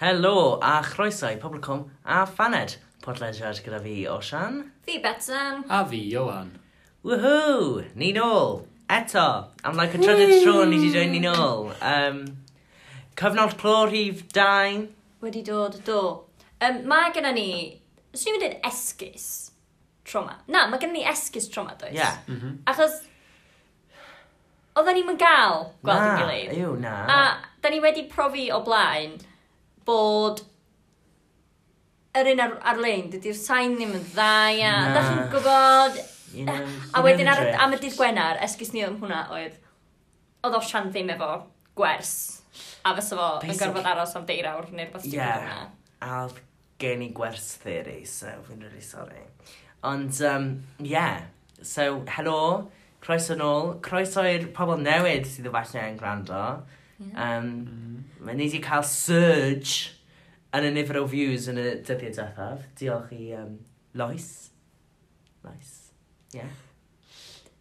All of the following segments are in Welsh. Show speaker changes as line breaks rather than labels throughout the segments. Helo a chroeso i Pobl.com a Faned, podlediad gyda fi Osian.
Fi Betsan.
A fi, Johan.
Woohoo! Ni nôl! Eto! Am like y trydydd tro ni wedi dweud ni nôl. Um, cyfnod clor hif 2.
Wedi dod, do. Um, mae gyda ni... Swn i'n dweud esgus trauma. Na, mae gyda ni esgus trauma, does?
Ie. Yeah.
Achos... Oedden ni'n gael gweld yn gilydd.
Ew, na.
A da ni wedi profi o blaen bod yr un ar, ar-lein, dydy'r sain ddim yn dda, ia.
Na.
Da chi'n gwybod...
You know,
A wedyn ar,
hundred.
am y dydd Gwenar, esgus ni am hwnna oedd... Oedd Osian ddim efo gwers. A fysa fo yn
Basic-
gorfod aros am deir awr neu rhywbeth
Ie.
yeah.
A gen i gwers theori, so fi'n really sorry. Ond, um, yeah. So, helo, croeso nôl. Croeso i'r pobl newid sydd efallai yn gwrando. Um,
Mm.
Mae ni wedi cael surge yn y nifer o views yn y dyddiau dethaf. Diolch i um, Lois. Lois. Yeah.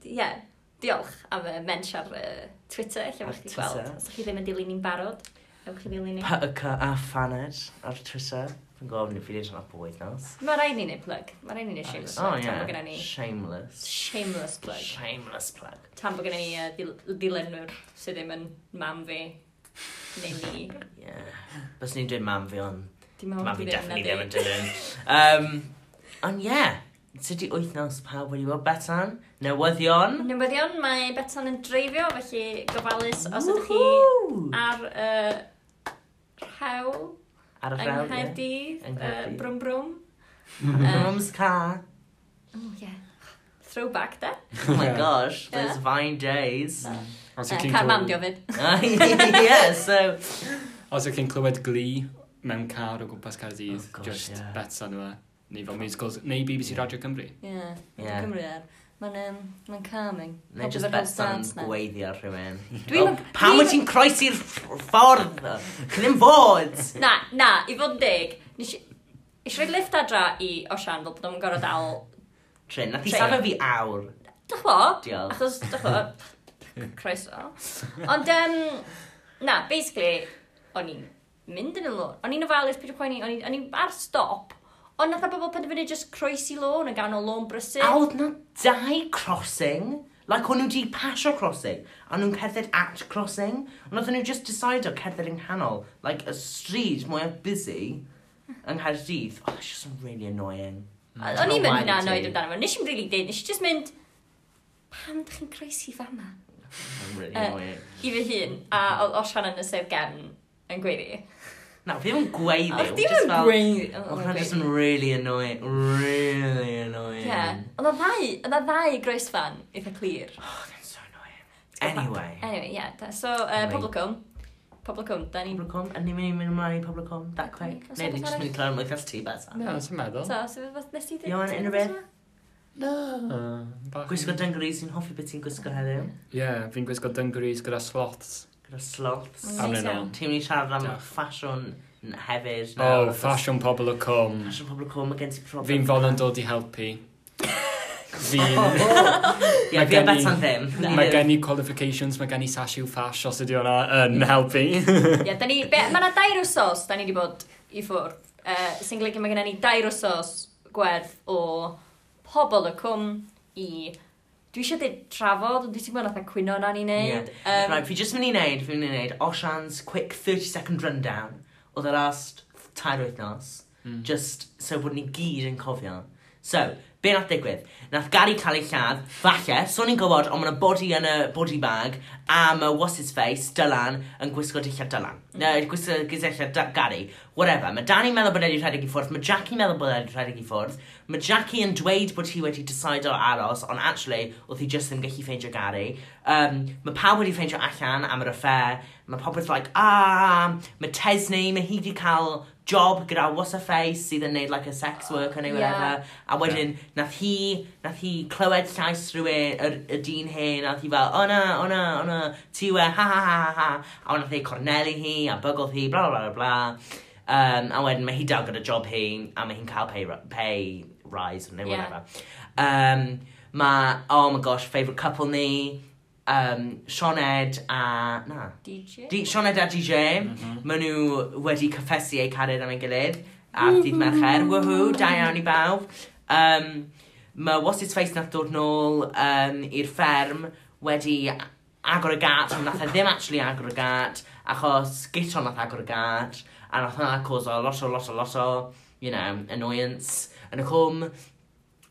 Ie, yeah. diolch am y mens ar uh, Twitter, lle
Ar
fawch chi
Twitter.
gweld. Os ydych chi ddim yn dilyn ni'n barod, ewch chi ddilyn ni.
Pyca a Faned ar Twitter. Fi'n gofyn i fi wneud hwnna bwyd nos.
Mae rai ni'n neud plug. Mae rai ni'n neud shameless
Oh,
plug. Tan bod gynna ni
Shameless.
shameless plug.
Shameless plug.
Tan bod gynna ni uh, dil- dilenwyr sydd ddim yn mam fi. Neu ni.
Yeah. Bys ni'n dweud mam fi ond
Dim ond
Mam fi
dwi ddim
definitely
na
ddim yn
di.
dilyn. Um, ond ie, yeah, tydi wythnos pawb wedi bod betan, newyddion.
Newyddion, mae Bethan yn dreifio, felly gofalus os ydych chi
Woohoo!
ar uh, rhewl
Ar y
yng
ffrawl, ie.
Nghaerdydd,
Yng
uh,
Nghaerdydd.
brwm brwm.
Mum's car.
Oh, yeah. Throwback, de?
Oh my gosh,
Yeah.
those fine days.
Os
Uh,
ydych chi'n
Car mam,
clywed-
diofyd.
yeah, so...
Os ydych chi'n clywed gli mewn car o gwmpas Caerdydd,
Oh, gosh,
just
ie.
bets yna, neu fel musicals, neu BBC Radio Cymru.
Ie.
Ie.
Cymru ar. Mae'n um, ma calming.
Neu just betan gweiddi ar rhywun.
Dwi'n-
Oh, Pam wyt ti'n croesi'r ff- ffordd? Cyn fod!
Na, na, i fod yn deg, nes i... Nes i roi lift adra i Osian fel bod o'n gorau dal...
Trin, nath i
Trin.
safo fi awr.
Dych bo?
Diolch.
Achos, dych bo? Croeso. Ond, um, na, basically, o'n i'n mynd yn y lôn. O'n i'n ofalus, peidio poeni, o'n i'n- o'n i'n ar stop. Ond nath o bobl penderfynu just croesi lôn yn ganol lôn brysur.
A oedd na dau crossing. Like, o'n nhw wedi pasio crossing. A nhw'n cerdded at crossing. Ond oedd nhw just decide o cerdded yng nghanol. Like, y stryd mwyaf busy yng Nghaerdydd. Oh, that's just really annoying.
O'n i'n
Why
mynd hwnna
did
noed
you?
amdano fo. Nes i'n rili dweud, nes i just mynd, pam dych chi'n croesi fama?
I'm really
Yy.
annoying.
I fy hun, a oedd Osian yn y sef gefn yn gweiddi.
Na, fi ddim yn gweud
Oedd
ddiw.
dim yn gweiddi.
Oedd hwnna just yn really annoying. Really annoying.
Ie. Oedd y ddau, oedd y ddau groes fan eitha clir.
Oh, that's so annoying. Anyway.
Anyway, ie. da- So, uh,
Anyway.
Poblicwm. Poblicwm, da ni'n...
Publicom, a ni'n mynd i mynd ymlaen i Publicom, that quick.
Oes
Neu,
rhywbeth
ni'n just
arall?
mynd i clawr mwy ffas ti beth.
Na, sy'n meddwl.
So, sef beth nes i
Iwan, unrhyw beth?
Na. bach yn-
Gwisgo dungarees, sy'n hoffi beth ti'n gwisgo heddiw.
Ie, fi'n gwisgo dungarees gyda slots.
Gyda sloths.
Mm.
Am
Neis
yn ôl.
iawn.
Ti'n mynd i siarad am
Diolch.
ffasiwn n- hefyd. nawr,
O,
achos
ffasiwn pobl o cwm.
Ffasiwn pobl cwm, mae gen ti problem.
Oh,
Oh.
Fi'n fod yn dod i helpu. Fi'n...
Ie, fi
Mae
a
gen i-
Bethan ddim. Ni
Mae
ddim.
gen i qualifications, mae gen i sashiw ffash os ydi hwnna yn helpu.
Ie, da ni... Be, mae yna dair wsos, da ni wedi bod i ffwrdd. Uh, sy'n golygu mae gennym ni dair wsos gwerth o pobl y cwm i... Dwi eisiau dweud trafod, ond dwi ti'n gwybod nath a cwyno na ni wneud.
Ie. Right, fi jyst mynd i neud, fi'n mynd i neud Oshan's quick 30 second rundown o the last tair wythnos. Just so bod ni gyd yn cofio. So, be nath digwydd? Nath Gary cael ei lladd, falle, so ni'n gwybod, ond mae'na body yn y body bag, a mae what's his face, Dylan, yn gwisgo dillad Dylan. Na, gwisgo gyselliad Da- Gary, whatever. Mae Danny meddwl bod wedi rhedeg i ffwrdd, mae Jackie meddwl bod wedi rhedeg i ffwrdd, mae Jackie yn dweud bod hi wedi decide o aros, ond actually, oedd hi just ddim gallu ffeindio Gary. Um, mae pawb wedi ffeindio allan am yr affair, mae popeth like, ah, mae Tesney, mae hi wedi cael job gyda what's her face sydd yn neud like a sex worker neu
Ie.
whatever. A wedyn, nath hi, nath hi clywed llais rhywun, y, y dyn hen, a nath hi fel, o na, o na, o na, ti we, ha ha ha ha ha. A nath hi cornelu hi, a bygodd hi, bla bla bla bla. Um, a wedyn mae hi dal gyda job hi, a mae hi'n cael pay, ri- pay rise, neu
Ie.
whatever. Um, mae, oh my gosh, favourite couple ni, um, Sioned a... Na.
DJ?
Di, Sioned a DJ, maen nhw wedi cyffesu eu cariad am ei gilydd ar dydd mercher. Woohoo, da iawn i bawb. Um, mae What's His Face nath dod nôl um, i'r fferm wedi agor y gat, ond nath e ddim actually agor y gat, achos gytro nath agor y gat, a nath hwnna cwso lot o, lot o, lot o, you know, annoyance yn y cwm.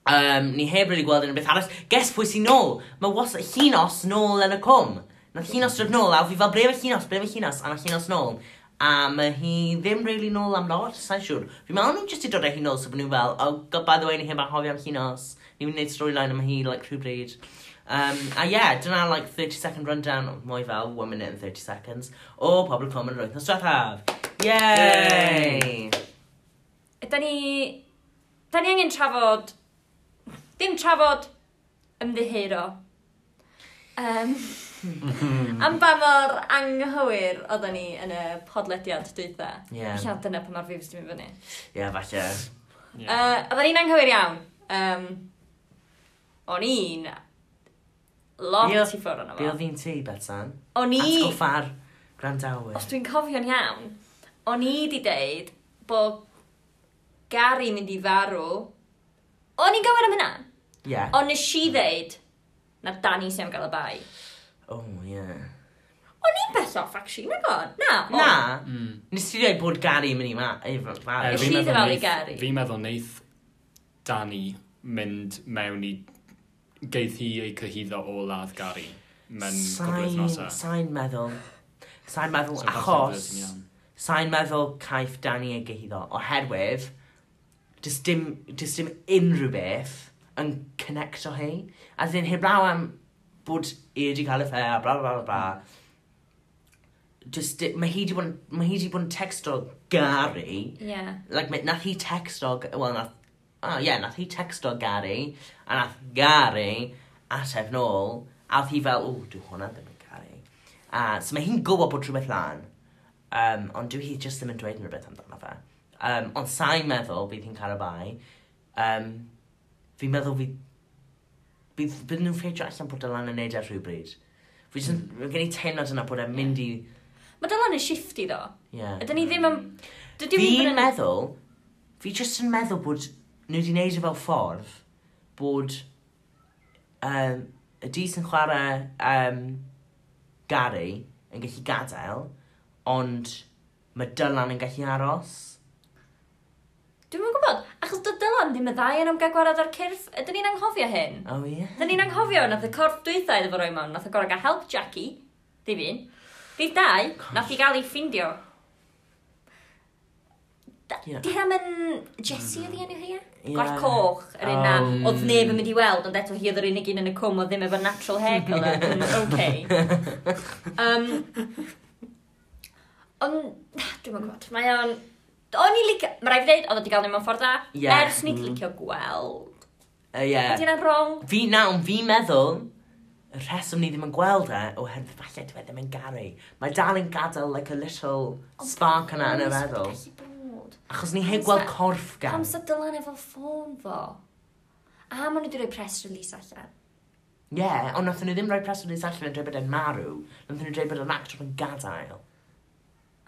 Um, ni heb really gweld yn y beth aros. Guess pwy sy'n nôl? Mae was hinos nôl yn y cwm. Nath hinos dod nôl, a fi fel ble mae hinos, ble mae hinos, a nath hinos nôl. A mae hi ddim really nôl am lot, sa'n siŵr. Fi'n meddwl nhw'n jyst i dod â hi nôl, so bod nhw fel, oh, god, by the way, ni heb anghofio am hinos. Ni'n mynd i wneud storyline am hi, like, rhywbryd. Um, a ie, yeah, dyna, like, 30 second rundown, o, mwy fel, 1 minute and 30 seconds, o pobl common roedd nos diwethaf. Yay!
Da ni... Da ni angen trafod... Dim trafod ymddihero. Um, am ba mor anghywir oedden ni yn y podlediad dwytha.
Ie.
Ella dyna pan mae'r views di mynd fyny.
Ie, yeah, falle.
Ie.
Uh, oedden ni'n anghywir iawn. Um, o'n i'n lot
Ie.
i ffwrdd o'n
Be
efo.
oedd un ti, Bethan?
O'n i...
Atgoffar grandawyr.
Os dwi'n cofio'n iawn, o'n i di deud bod Gary mynd i farw. O'n i'n gywir am hynna.
Ie. Yeah.
Ond nes
Hmm.
i ddeud na Dani sy'n am gael y bai.
Oh, ie. Yeah.
O'n i'n bell off, actually, nag o'n? Na, o'n.
Na,
Mm.
nes ti dweud bod Gary yn mynd i ma... i fa-
Yy,
Nes
farw.
i
fi'n meddwl
ddyfalu
neith-
Gary.
Fi'n meddwl neith Dani mynd mewn i... Geith hi ei cyhyddo o ladd Gary. Mewn gwybod
Sain,
nosa.
sain meddwl. Sain meddwl
So falle
achos...
fydd hi'n iawn.
Sain meddwl caiff Dani ei gyhyddo oherwydd does dim, does dim unrhyw beth yn connecto hi. A ddyn heblaw am bod i wedi cael y ffe a bla bla bla bla. Just, di- mae hi wedi bod, yn- mae hi wedi bod yn texto Gary
Ie.
like, ma- nath hi texto, G- well, nath, oh, yeah, nath hi texto Gary, a nath Gary ateb nôl, a oedd hi fel, o, dwi hwnna ddim yn Gary. A, so mae hi'n gwybod bod rhywbeth lan, um, ond dwi hi just ddim yn dweud yn rhywbeth amdano fe. Um, ond sa'n meddwl bydd hi'n cael y bai, um, fi'n meddwl fydd, bydd, bydd nhw'n ffeidio allan bod Dylan yn neud ar rhywbryd. Fi jyst yn, mm. gen i teimlad yna bod e'n mynd i,
Mae Dylan yn shifty, ddo.
yeah.
Ydyn ni ddim am... Dydw i ddim
Fi'n
yn...
meddwl, fi jyst yn meddwl bod nhw wedi gwneud e fel ffordd bod um, y dys yn chwarae um, Gary yn gallu gadael, ond mae Dylan yn gallu aros.
Dwi'n yn gwybod, achos dod Dylan ddim y ddau yn am gael gwarad ar cyrff. Ydyn ni'n anghofio hyn.
O oh, ie.
Dyn ni'n anghofio, nath y corff dwytha iddo fo roi mewn, nath y gorau gael help Jackie, ddim un. Dydd dau, nath i gael ei ffindio.
Ie.
Yeah. Di am yn Jessie oedd i enw hi e?
Ie.
Gwall coch, yr un na,
Oh.
oedd neb yn mynd i weld, ond eto hi oedd yr unig un yn y cwm, oedd ddim efo natural hair colour. Mm, OK. Um, ond, dwi'n yn gwybod, mae o'n... O'n i licio... Mae rai fi ddeud, oedd o wedi gael ni mewn ffordd dda.
Ie. Mm.
Ers ni'n licio gweld.
Uh, yeah.
Ydy yna'n wrong?
Fi nawr, fi'n meddwl, y rheswm ni ddim yn gweld e, oherwydd falle dwi ddim yn Gary. Mae dal yn gadael like a little spark yna yn y feddwl. Achos ni heb gweld corff gan.
Pam sa Dylan efo ffôn fo? A maen nhw wedi rhoi press release allan.
Ie, yeah, ond nathon nhw ddim rhoi press release allan yn dweud bod e'n marw. Nathon nhw dweud bod e'n actor yn gadael.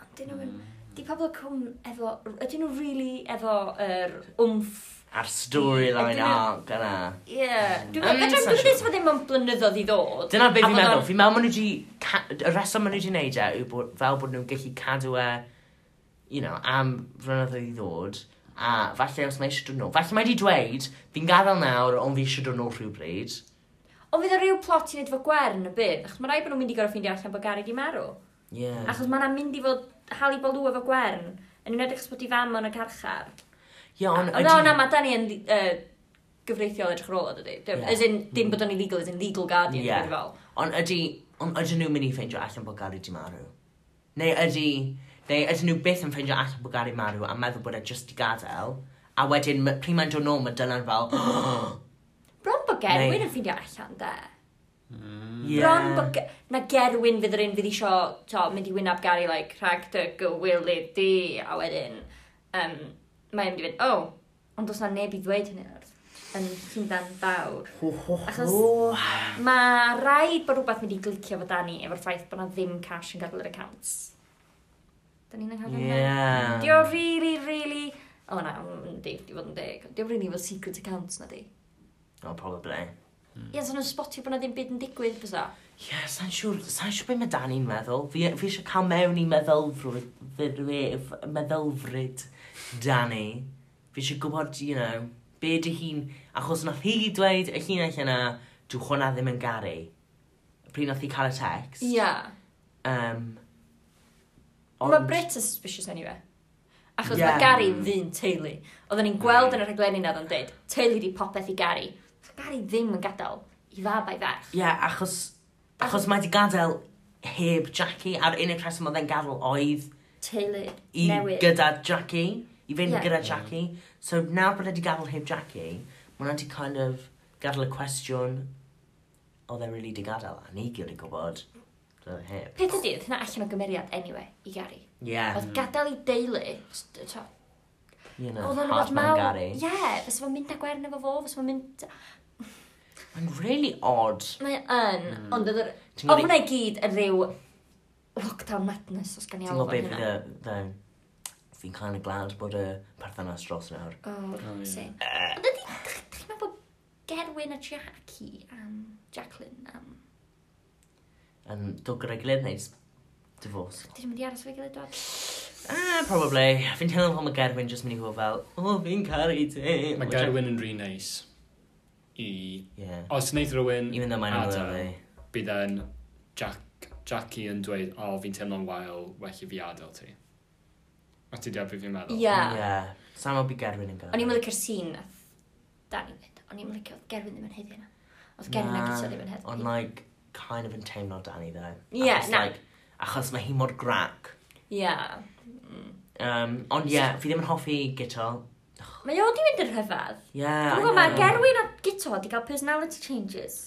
Ond dyn nhw'n...
Mm.
Di pobl cwm efo... Ydyn nhw really efo yr wmff...
A'r
Ydyn
storyline
nhw-
arc yna.
Ie. Dwi'n
Mm,
meddwl,
sa'n
dwi'n
siŵr.
meddwl bod ddim yn blynyddoedd i ddod.
Dyna beth
A
fi'n
bod
meddwl.
o'n-
Fi'n meddwl maen nhw wedi... ca- Y reswm maen nhw wedi gwneud e yw bod, fel bod nhw'n gallu cadw e, you know, am flynyddoedd i ddod. A falle os mae eisiau dod nôl. Falle mae wedi dweud, fi'n gadael nawr, ond fi eisiau dod nôl rhywbryd.
Ond fydd o ryw plot i wneud fo gwern y bydd, achos mae rai bod nhw'n mynd i gorau ffeindio allan bod Gary di marw.
Ie. Yeah.
Achos mae'n mynd i fod hali bolw efo gwern, yn uned achos bod i fam yn y carchar.
Ie, ond
Ond o, na, mae Dani yn yy, gyfreithiol edrych ar ôl o, dydy.
Ie.
Dim-
Mm.
As in, dim bod o'n illegal, as in legal guardian,
Ie.
yeah. fel.
Ond ydy, ond ydyn nhw'n mynd i ffeindio allan bod Gary di marw? Neu ydy, neu ydyn nhw byth yn ffeindio allan bod Gary marw a meddwl bod e jyst i gadael? A wedyn, ma- pryd mae'n dod nôl, mae Dylan fel...
Bron bod
Neu-
Gerwyn yn ffeindio allan, de.
Ie.
Bron bod... Ge- Na Gerwyn fydd yr un fydd isio, to, mynd i wynab Gary, like, rhag dy gywilydd di, a wedyn, um, mae'n mynd i fynd, oh, ond does na neb i ddweud hynny wrth. yn Llundain fawr.
Ho, ho,
Achos-
ho.
Mae rhaid bod rhywbeth mynd i glicio fo Dani efo'r ffaith bod na ddim cash yn gadael yr accounts. Da ni'n anghyfio
Yeah.
Di o really, really... O na, di, di fod yn deg. Di o really fel secret accounts na di.
Oh, probably.
Ie, yeah, nhw'n spotio bod na ddim byd yn digwydd, bysa.
Ie, sa'n siŵr, sa'n siŵr beth mae Dani'n meddwl. Fi, fi eisiau cael mewn i meddylfryd, feddylf- meddylfryd Dani. Fi eisiau gwybod, you know, be dy hi'n... Achos nath hi dweud y llinell yna, dw hwnna ddim yn garu. Pryd nath hi cael y text.
Ie. Yeah.
Um,
Ond... Mae Brit yn suspicious anyway.
Ie.
Achos yeah. mae Gary yn ddyn teulu. Oedden ni'n gweld yn y rhaglenni na oedd yn dweud, teulu di popeth i Gary. Gary ddim yn gadael i fab a'i ferch.
Ie, yeah, achos... Achos mae di gadael heb Jackie, a'r unig rheswm oedd e'n gadael oedd
Teulu
i
newydd.
gyda Jackie, i fynd
Ie.
yeah. gyda Jackie. So nawr bod wedi gadael heb E, Jackie, mae hwnna wedi kind of gadael y cwestiwn, oedd e really di gadael, a ni gyd yn gwybod, dyna heb.
Peth ydy, oedd hynna allan o gymeriad anyway i Gary.
Ie,
Oedd gadael i deulu. s- t- t'o,
you know,
Oedd o'n
hard
rhywbeth
man
mawr.
Gary.
Ie, fes fo'n mynd â gwern efo fo, fes fo'n mynd...
Mae'n really odd.
Mae yn, ond oedd yr...
Mm. Ti'n
Oedd
gwybod
hwnna i gyd yn rhyw lockdown madness os gan i
ti'n gwybod
alw
beth
fan
fydd y...
hynna.
the- Fi'n kind of glad bod y perthynas dros nawr.
O,
Mm.
ie.
sy'n. Ond ydy, chi'n meddwl bod Gerwyn a Jackie am Jacqueline am...
Yn dod gyda'i gilydd neu s- divorce.
Dyn nhw'n mynd i aros fo'i gilydd dod?
Ah, probably. Fi'n teimlo fel mae Gerwyn jyst mynd i fod fel, oh, fi'n caru ti.
Mae
Which I-
Gerwyn yn rhy neis i...
Yeah.
Os wneud rhywun...
Even though mae'n anodd
adael,
efo
Bydd yn Jack, Jackie yn dweud, o, oh, fi'n teimlo'n wael, well i fi adael ti. A ti debyg fi'n meddwl.
Ie.
Yeah. Sam o bu Gerwyn yn gael.
O'n i'n mynd i'r sîn nath Dani fynd. O'n i'n mynd oedd Gerwyn ddim yn heddi yna. Oedd Gerwyn ac eto ddim yn
Ond
heddi.
like, kind of yn teimlo Danny ddo.
Ie,
Achos,
na.
Like, achos mae hi mor grac.
Ie. Mm.
Um, ond ie, yeah, fi ddim yn hoffi gyto.
Mae o di fynd yn rhyfedd.
Ie, yeah,
Dwi'n gwybod, mae Gerwyn a Gito wedi cael personality changes.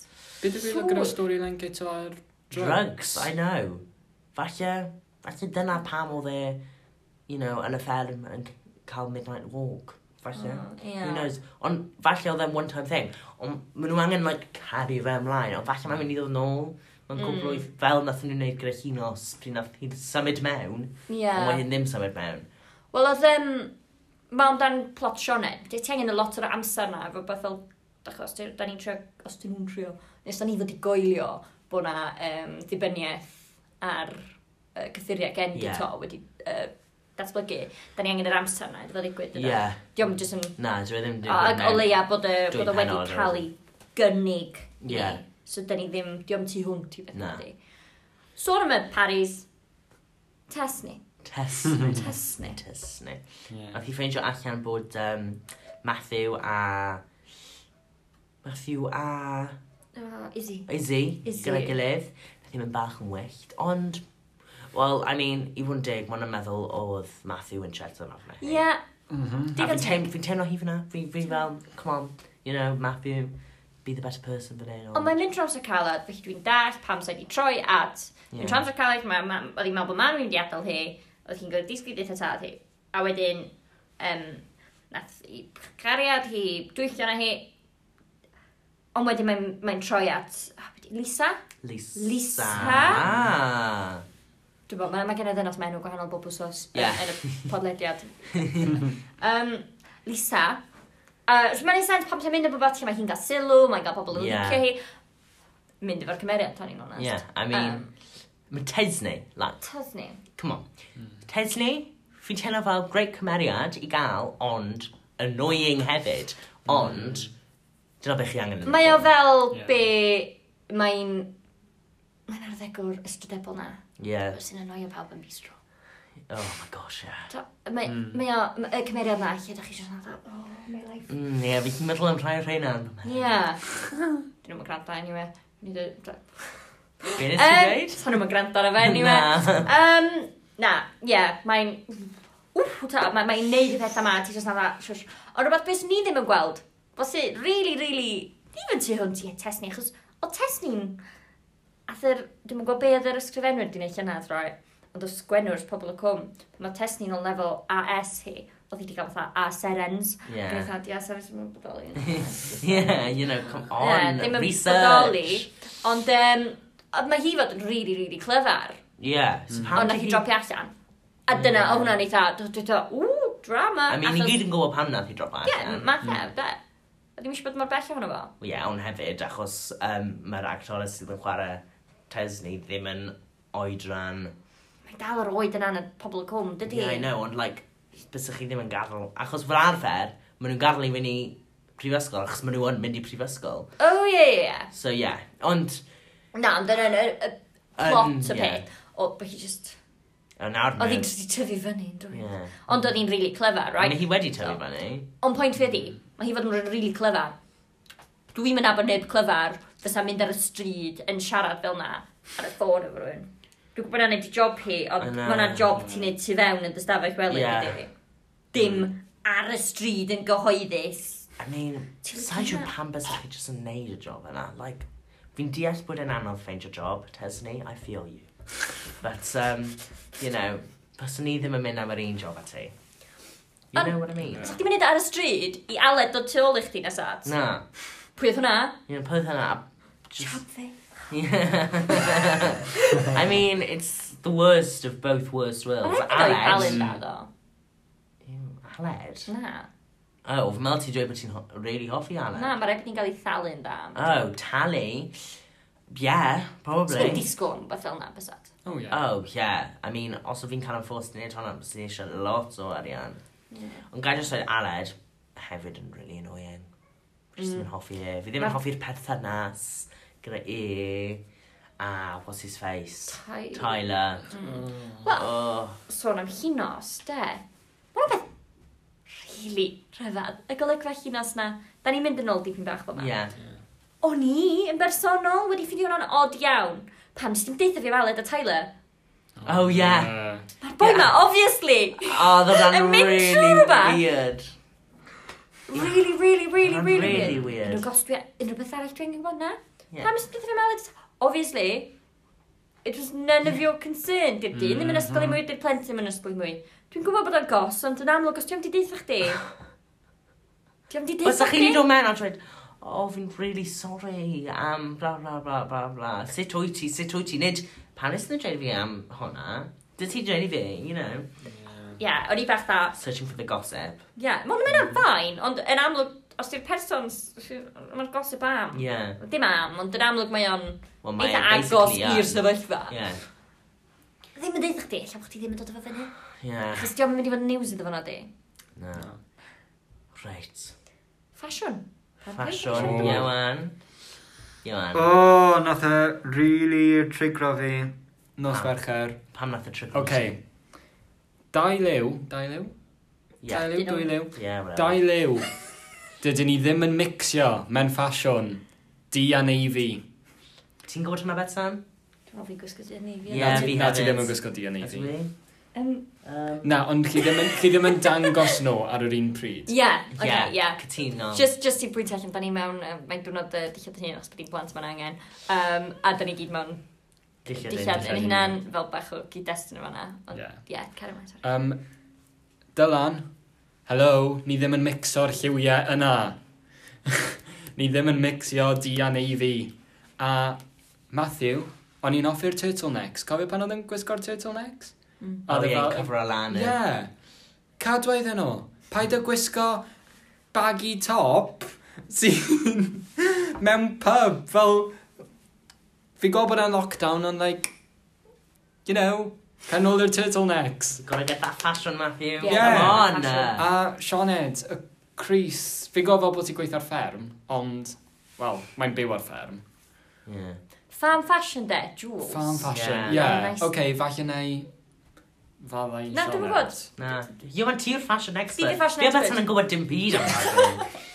Bydd y fi
Siŵr.
gyda storyline gyda ar
Drugs, I know. Falle, falle dyna pam oedd e, you know, yn y fferm yn c- cael Midnight Walk. Falle.
Oh.
Who
Ie.
knows? Ond falle oedd e'n one time thing. Ond maen nhw angen, like, caru fe ymlaen. Ond falle mae'n mynd i ddod yn ôl. Mae'n
Mm.
cwbl mm. fel nath nhw'n gwneud gyda Hinos pryd nath hi'n symud mewn.
Ie.
Ond mae hi'n ddim symud mewn.
Wel, oedd um, mae amdan plot Sioned. Dwi ti angen y lot o'r amser na, efo beth fel, dachos, os da ni'n trio, os dyn nhw'n trio, nes da ni fod i goelio bod na um, ddibyniaeth ar uh, cyffuriau gen
Ie.
yeah. to wedi uh, datblygu. Da ni angen yr amser na, efo ddigwydd.
Ie.
dyna.
Yeah.
Diom jyst yn...
Na, dwi ddim wedi
Ac o leia bod y,
Dwy
bod y wedi
pennod,
cael ei gynnig i
Ie.
ni. So, da ni ddim, diom tu hwnt i beth
Na.
na di. Sôn am y Paris, Tesni.
Tesni.
Tesni.
Tesni.
Yeah.
Oedd hi ffeindio allan bod um, Matthew a... Matthew a...
Uh, Izzy.
Izzy.
Izzy.
Gyda gilydd. Nath hi mynd bach yn wyllt. Ond... Well, I mean, i fod yn dig, mae'n meddwl oedd Matthew yn chat yn ofna.
Ie, yeah,
Mm-hmm.
A
digon
fi'n
teg.
teimlo, fi'n teimlo hi fyna. Fi'n fi fel, come on, you know, Matthew, be the better person fan hyn.
Ond mae'n mynd draws y calad, felly dwi'n dall pam sa'i di troi at...
Ie.
Yeah. Yn draws y calad, ma- ma- oedd hi'n meddwl bod mam wedi adael hi, oedd hi'n gwneud disgwyl eitha tad hi. A wedyn, um, nath i cariad hi, dwyllio na hi, ond wedyn mae'n mae troi at ah, be 'di- Lisa.
Lisa.
Lisa?
Ah.
Dwi'n bod, mae ma gen i ddynas mae enw gwahanol bob wsos
Ie.
yeah. yn y podlediad. um, Lisa. Uh, mae'n ei sens pam ti'n mynd o bobeth lle mae hi'n cael sylw, mae'n cael pobl yn
Ie.
yeah. licio hi. Mynd efo'r cymeriad, ta'n i'n onest.
Yeah, I mean, um, mae Tesney, like,
Tasni.
Come on. Tesney, fi'n teimlo fel great cymeriad i gael, ond annoying hefyd. Ond, dyna beth chi angen. yn y
Mae o
bôn.
fel
Ie.
yeah. be mae'n... Mae'n arddegwr ystradebol na.
Yeah.
Os yn annoio pawb yn bistro.
Oh my gosh, yeah.
Ta- Mae mm. mae o... ma- Y cymeriad na, lle ydych chi eisiau siarad o, oh, my life.
Mm, yeah, fi chi'n meddwl am rhai o'r rhain am. Ah.
Ie. Yeah. Dyn nhw'n gwrando anyway. Nid y...
Be nes i
Yym,
dweud?
Sa nhw'n gwrando ar y fe anyway.
Na.
um, na, ie, yeah, mae'n... Wff, ta, mae'n mae neud y pethau ma, ti jyst na shush. Ond rhywbeth beth ni ddim yn gweld, e fosi, really, really, ddim yn tu hwnt i Tesni, achos o Tesni'n... Athyr, dwi'n gwybod be oedd yr ysgrifenwyr di'n eich yna, droi, ond o sgwenwrs pobl y cwm, pan mae Tesni'n o lefel AS hi, oedd hi wedi cael fatha a serens. Yeah. Dwi'n
Yeah.
fatha, ia, sefyll mewn bodoli.
yeah, you know, come on,
Ie, ddim yn bodoli.
research.
Ond um, mae hi fod yn rili, rili clyfar.
Yeah, so pam
Ond
did
nath hi
he-
dropio allan. A dyna,
Ie.
yeah. o hwnna'n eitha, dwi'n dweud, ww, drama.
I mean, ni gyd yn gwybod pam nath i drop allan. Hmm.
Ie, mae thef, de. A ddim eisiau bod mor bell ohono fo.
iawn hefyd, achos um, mae'r actores sydd yn chwarae Tesney ddim yn oedran.
Mae dal yr oed yna yn y pobl y cwm, dydy.
Yeah, I know, ond like, bys chi ddim yn gadael. Achos fel arfer, maen nhw'n gadael i fynd i prifysgol, achos maen nhw yn mynd i prifysgol.
O, ie, ie, ie.
So, yeah. Ond,
Na, ond dyna'n y y
Yn,
plot y
ie.
peth. O, bod hi just...
o nawr
Oedd hi'n
mae'n...
just i tyfu fyny, dwi'n
Ie.
Ond oedd hi'n really clever,
Right.
right?
Mae hi wedi tyfu
So-
fyny.
Ond pwynt fi ydi, mae hi fod yn really clever. Dwi'n mynd abod neb clever, fysa'n mynd ar y stryd yn siarad fel na, ar y ffôn efo rhywun. Dwi'n gwybod na wneud i job hi,
I
ond
know.
mae hwnna'n job ti'n neud tu fewn yn dy stafell wely.
Ie. Mm.
dydi? Dim ar y stryd yn gyhoeddus.
I mean,
Ti'n
sa'n siw
gwbod-
pam bys chi jyst yn neud y job yna. Like, fi'n deall bod yn anodd ffeindio job, Tesney, I feel you. But, um, you know, bys ni ddim yn mynd am yr un job at ti. You
Ond-
know what I mean?
Ti'n mynd e ar y stryd i aled dod tu ôl i chdi nesat?
Na.
Pwy oedd hwnna?
You know, pwyth hwnna. Just...
fi.
Yeah. I mean, it's the worst of both worst worlds.
Aled
Aled.
na ddo.
Ew, Aled?
Na.
Oh, fy mel ti dweud bod ti'n ho- really hoffi Aled?
Na, mae rhaid bod ni'n cael ei thalu'n da.
Oh, Tally? Yeah,
Ti'n
probably.
disgwyl am beth fel na, bysad.
Oh, yeah.
Oh, yeah. I mean, os o fi'n cael yn ffwrs i wneud hwnna, bys ni eisiau lot o arian. Ond gael jyst dweud Aled, hefyd yn really annoying. Fi jyst ddim yn hoffi e. Fi ddim yn
Mm. Ma-
hoffi'r perthynas gyda e. A, what's his face?
Tai.
Tyler.
Wel,
Oh.
sôn am hinos, de. Mae'n beth rili rhyfedd. Y golygfa hinos na, da ni'n mynd yn ôl dipyn bach fel yma.
Yeah.
O'n i, yn bersonol, wedi ffeindio hwnna'n od iawn. Pam, nes ti'n deitha fi am Aled a Tyler?
Oh, yeah.
Mae'r boi
Ie.
ma, obviously!
Oh, that
Yn
ran
mynd
really
trwy rhywbeth.
weird.
Really, really, really,
Ma'n
really,
really weird.
Unrhyw gostwi, unrhyw beth arall dwi'n gwybod na?
Ie.
Pam ysbryd ddim aled? Obviously, it was none of your concern, dyb di. Ddim yn ysgol i mwy,
Mhm.
dy'r plentyn yn ysgol i mwy. Dwi'n gwybod bod o'n gos, ond yn amlwg, os ti'n di deitha chdi... Ti'n di
Os
deitha
ydych chi'n dod mewn a dweud, oh, fi'n really sorry am bla bla bla bla bla. Sut wyt ti, sut wyt ti? Nid, pan ys nhw'n dweud fi am hwnna, dy ti dweud i fi, you know,
Ie, o'n i bach dda.
searching for the gossip.
Ie, yeah, mae'n mynd am ffain, ond yn amlwg, os di'r person, mae'n gosip am.
Yeah.
Dim am, ond yn amlwg mae o'n
Well, mae
eitha
e
agos
basically
i'r
yn.
sefyllfa.
Yeah.
Ddim yn deitha chdi, lla bod chdi ddim yn dod o fo fyny.
Yeah.
Chos diolch yn mynd i fod yn news iddo fo na di.
No. Right.
Ffasiwn.
Fashion.
Oh.
Iwan. Iwan.
O, nath e really trigro fi.
Nos
Ah.
Fercher.
Pam nath y trip?
OK. Dau liw. Dau liw?
Yeah.
Dau liw, dwy liw.
Yeah, whatever.
Dau liw. Dydyn ni ddim yn mixio mewn ffasiwn. Di a neifi.
Ti'n gwybod hwnna bet, Sam?
Dwi'n ofyn gwisgo dyn ni.
Ie,
Na ti-
fi
na ti
hefyd.
ddim yn gwisgo di a
That's
neifi.
me.
Um,
Um,
Na, ond chi ddim yn, chi ddim yn dangos nhw ar yr un pryd.
yeah, okay,
yeah,
yeah. yeah.
Cytuno.
Just, just i bwynt allan, da ni mewn, uh, mae'n diwrnod uh, dillad yn hun, os bydd plant ma'n angen. Um, a da ni gyd mewn
Dillad yn
dillad yn
hunan.
hunan, fel bach o gyd-destun yma na. Ond,
Yeah.
yeah, carry on. sorry.
Um, Dylan, hello, ni ddim yn mixo'r lliwiau yna. ni ddim yn mixio di a neifi. A Matthew, o'n i'n offi'r turtlenecks. Cofio pan oedd yn gwisgo'r turtlenecks?
Mm.
Oh,
Oedd e
yeah,
fel-
cyfro lan. yn-
Ie. Cadwa iddyn nhw. Paid o gwisgo baggy top sy'n mewn pub fel... Fi gwybod bod e'n lockdown ond like... You know, can all their turtlenecks.
Gotta get that fashion, Matthew.
Yeah.
Yeah.
Come on.
Fashion.
A Sioned, y Cris, fi gwybod bod ti'n gweithio'r fferm, ond, wel, mae'n byw ar fferm.
yeah.
Farm fashion de, Jules.
Farm fashion,
Yeah.
ie. Yeah.
Nice.
Oce, okay, falle neu... Faddau
Na, dwi'm yn gwbod.
Na. Iwan, ti yw'r fashion expert.
Fi 'di'r fashion
Fi o
expert.
beth yn gwybod dim byd am fashion.
Dwi'n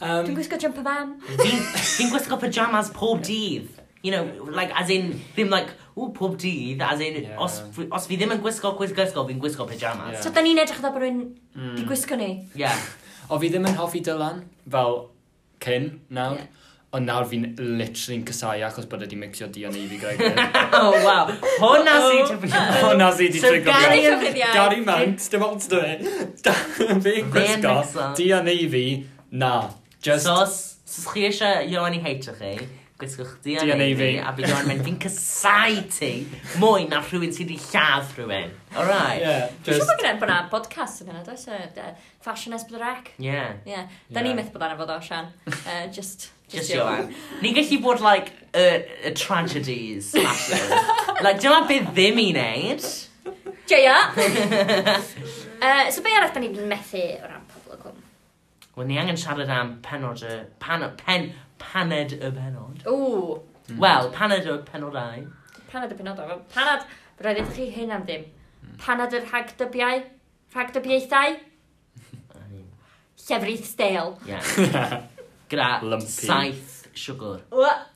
Um,
gwisgo jumper fan.
Fi'n fi'n gwisgo pyjamas pob dydd. You know, like, as in, ddim like, ww, pob dydd, as in,
Yeah.
os, fi- os fi ddim yn gwisgo gwisgo gwisgo, fi'n gwisgo pyjamas.
Yeah.
So, da ni'n edrych dda bod rwy'n di
mm.
gwisgo ni.
Yeah.
O, fi ddim yn hoffi Dylan, fel cyn, nawr.
Ie.
Yeah. Ond nawr fi'n literally'n casau achos bod wedi mixio di a neu fi Greg.
Oh, wow. Hwnna sy'n tyfu.
Hwnna sy di
So
trigger
Gary-
Oh. Gary
fi.
Llofruddiaeth.
Gary Mount, dim ond dy fe. Fe yn gwisgo,
mixo.
di a neu fi, na. Just,
So, os os chi eisiau Iwan i heitio chi, gwisgwch
DNA
DNA fi,
fi.
a bydd Iwan yn mynd, fi'n casau ti mwy na rhywun sydd wedi lladd rhywun. Alright.
yeah,
Dwi'n siŵr
just.
bod gen bod na podcast yn hynna, does e? Yy, Fashion Esbydrec.
Yeah.
Ie. Da ni
Ie.
myth bod arno fod o, Sian. Yy, Just...
Just Iwan. Ni'n gallu bod, like, y y tragedies. falle. like, dyma beth ddim i wneud.
Joia! Yy, So be arall da ni'n methu o ran pobl o cwm?
Wel, ni angen siarad am penod y... Pan, pen, paned y penod.
Ww,
Mm.
Wel, paned y penodau.
panad y penodol. Panad, roedd ydych chi hyn am ddim. Panad yr rhagdybiau, rhagdybiaethau, llefrith steil.
Yeah. Gyda
Lumpy.
saith siwgr.
A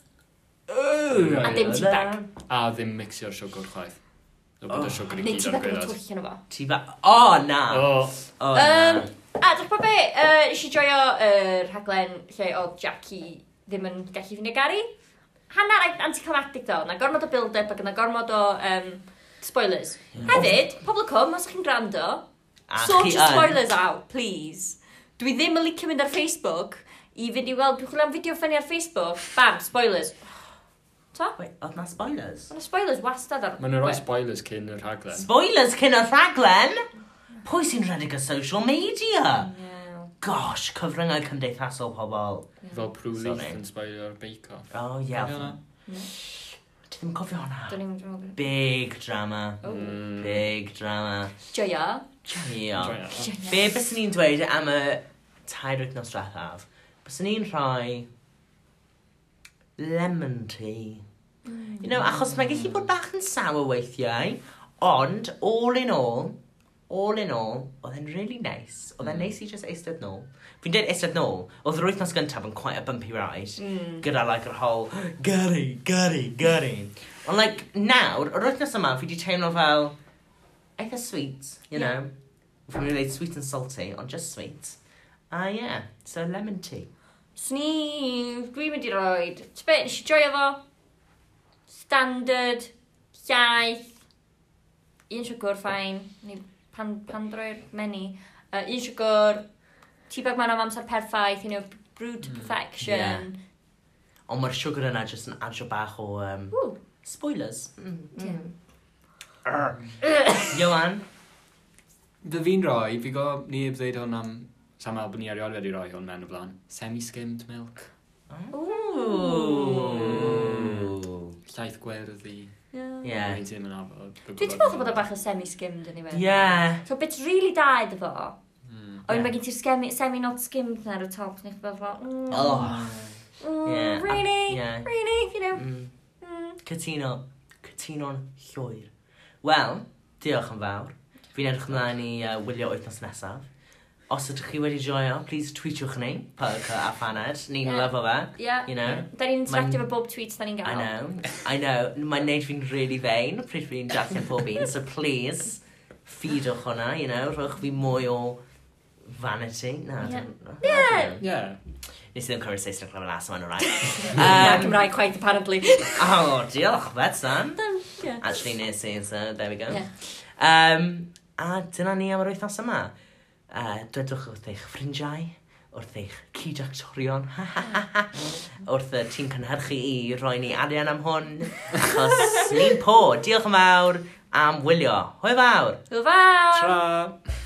A
dim tea bag.
A ddim mixio'r siwgr chwaith. Dwi'n bod y siwgr i
Neu
gyd
ti
ar
beth yn
gweud.
twllio nhw fo.
Tea bag. O, na.
O,
O,
Um,
na.
a dwi'n bod be, uh, eisiau joio y rhaglen lle oedd Jackie ddim yn gallu fynd i Gary. Hanna'r ai- anticlimactic ddo, na gormod o build-up ac na gormod o um, spoilers. Hefyd, pobl y cwm, os ydych chi'n gwrando,
A
sort
chi
your
yn.
spoilers out, please. Dwi ddim yn licio mynd ar Facebook i fynd i weld, dwi'n chwilio am fideo ffynnu ar Facebook, bam, spoilers. To?
Wait, oedd na spoilers?
Mae spoilers wastad ar...
maen nhw'n rhoi
Wel,
spoilers cyn yr rhaglen.
Spoilers cyn y rhaglen? Pwy sy'n rhedeg y social media?
ie.
Gosh, cyfryngau cymdeithasol pobl.
Fel prwlith
Sorry.
yn spoilio'r bake off.
O, oh, ie. Yeah.
Hwnna.
Ti ddim yn cofio hwnna?
Dwi'n i'n...
Big drama.
Oh.
Mm.
Big drama.
Joio.
Joio.
Joio.
Be bys ni'n dweud am y tair wythnos drethaf? Bys ni'n rhoi lemon tea. You know, achos mae gallu bod bach yn sour weithiau, ond all in all, all in all, oedd e'n really nice. Oedd e'n neis i just eistedd nôl. Fi'n dweud eistedd nôl, oedd yr wythnos gyntaf yn quite a bumpy ride,
Mm.
gyda like yr whole, Gary, Gary, Gary. Ond like, nawr, yr wythnos yma, fi di teimlo fel, eitha sweet, you
Yeah.
know. Fi'n mynd i ddeud sweet and salty, ond just sweet. Ah, yeah, so lemon tea.
Sni, dwi'n mynd i roi... Ti'n beth, nes i joio fo? Standard, llaeth, un siwgr ffain, ni pan, pan droi'r menu. Uh, un siwgr, tea bag man am amser perffaith, you know, brewed
Mm.
to perfection.
Ond mae'r Oh, sugar yna just yn adio bach o... Um,
Ww.
Spoilers. Mm,
Yeah.
mm. Johan,
Fy fi'n rhoi, fi go neb ddeud hwn am Sam Albon i erioed wedi rhoi hwn mewn o blaen. Semi-skimmed milk.
Ooh.
Llaeth gwerddi.
Yeah.
Yeah.
Mae'n teimlo'n abod.
Dwi'n teimlo bod o bach o semi-skimmed yn i fe.
Yeah.
So beth really da iddo fo, oedd
Hmm.
Yeah.
mae gen ti'r semi- semi-not skimmed na ar y top, neu fel fel, mm,
Oh. yeah.
mm, really,
Yeah.
really, you know,
Mm.
mm.
Cytuno. Cytuno'n llwyr. Wel, diolch yn fawr. Fi'n edrych ymlaen i uh, wylio wythnos nesaf. Os ydych chi wedi joio, please tweetiwch ni, Perca a Faned. Ni'n
Yeah.
yeah. lyfo fe,
Yeah.
you know.
Da ni'n interactive
Mae'n-
efo bob tweet da ni'n gael.
I know, I know. Mae'n neud fi'n really fein, pryd fi'n darllen pob un, so please, feedwch hwnna, you know, rhowch fi mwy o vanity. Na,
Yeah.
don't-
Yeah.
I don't know.
Yeah.
Nes i ddim cywir Saesneg lefel as yma'n o'r rhaid.
Na Cymraeg chwaith, apparently.
Oh, diolch, that's done.
Yeah.
Actually, nes i, so uh, there we go.
Yeah.
Um, a dyna ni am yr wythnos yma. Uh, dwedwch wrth eich ffrindiau, wrth eich cyd-actorion, wrth y tîm cynhyrchu i roi ni arian am hwn, achos ni'n po. Diolch yn fawr am wylio. Hwyl fawr!
Hwyl fawr!
Tra!